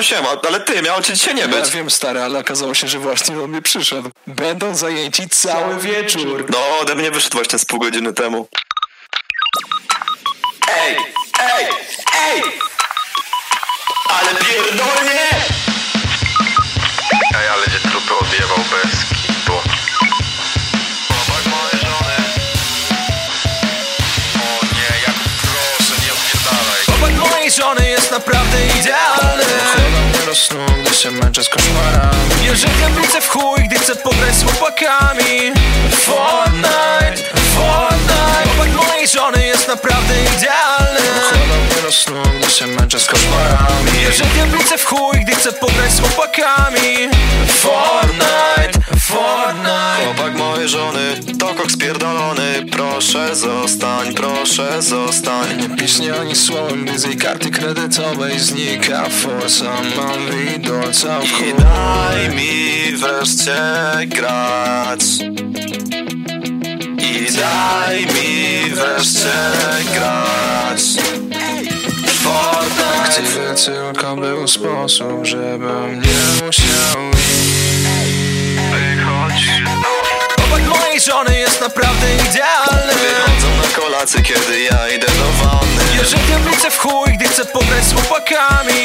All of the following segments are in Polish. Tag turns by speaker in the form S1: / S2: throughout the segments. S1: się, ma- No ale ty, miało cię dzisiaj nie
S2: Ja
S1: być.
S2: wiem, stary, ale okazało się, że właśnie on mnie przyszedł. Będą zajęci cały wieczór.
S1: No, ode mnie wyszedł właśnie z pół godziny temu. Ej, ej, ej! Ale pierdolnie!
S3: Ej, ale gdzie trupy odjebał bez kitu. Zobacz moje żony. O nie, jak proszę, nie odpierdalaj.
S4: Obok mojej żony jest naprawdę idealny
S2: Nie rosną, gdy się męczę z koszmarami.
S4: Wiem, że kaplice w chuj, gdy chcę pograć z chłopakami Fortnite, Fortnite Obok mojej żony jest naprawdę idealny
S2: Nie rosną, gdy się męczę z koszmarami.
S4: Wiem, że kaplice w chuj, gdy chcę pograć z chłopakami Fortnite, Fortnite
S1: Chłopak mojej No tak, żony, to koks pierdolony. Proszę zostań, proszę zostań.
S2: Nie piśnie ani słowem, gdy z jej karty kredytowej znika forsa. Mam widoca w
S1: I
S2: chuj.
S1: daj mi wreszcie grać. I daj mi wreszcie grać. Fortnite!
S2: Gdyby tylko był sposób, żebym nie musiał iść.
S3: Wychodzisz do...
S4: Obok mojej żony jest naprawdę idealny
S1: Wychodzą na kolację, kiedy ja idę do wanny.
S4: Wiem, że kaplice w chuj, gdy chcę pograć z chłopakami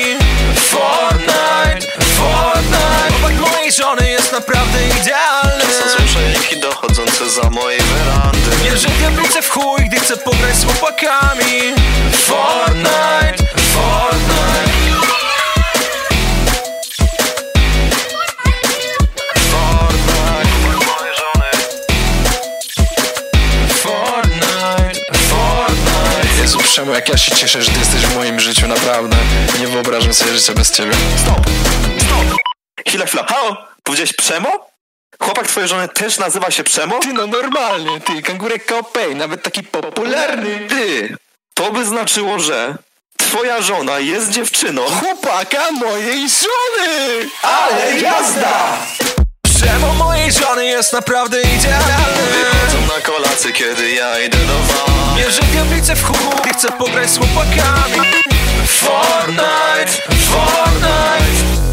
S4: Fortnite, Fortnite Obok mojej żony jest naprawdę idealny
S1: Są słyszejki dochodzące za mojej werandy.
S4: Bierze diablice w chuj, gdy chcę pograć z chłopakami Fortnite, Fortnite
S3: Zobacz moje żony.
S4: Fortnite, Fortnite
S2: Jezu, Przemu, jak ja się cieszę, że ty jesteś w moim życiu, naprawdę. Nie wyobrażam sobie życia bez ciebie.
S1: Stop! Stop! Chwila, chwila. Halo? Powiedziałeś Przemo? Chłopak twojej żony też nazywa się Przemo?
S2: Ty no normalnie, ty, kangurek kopej, nawet taki popularny.
S1: Ty! To by znaczyło, że twoja żona jest dziewczyną.
S2: Chłopaka mojej żony!
S1: Ale jazda!
S4: Drzewo mojej żony jest naprawdę idealne
S1: Wychodzą na kolację, kiedy ja idę do wanny.
S4: Bierze diablice w chuj, gdy chcę pograć z chłopakami Fortnite, Fortnite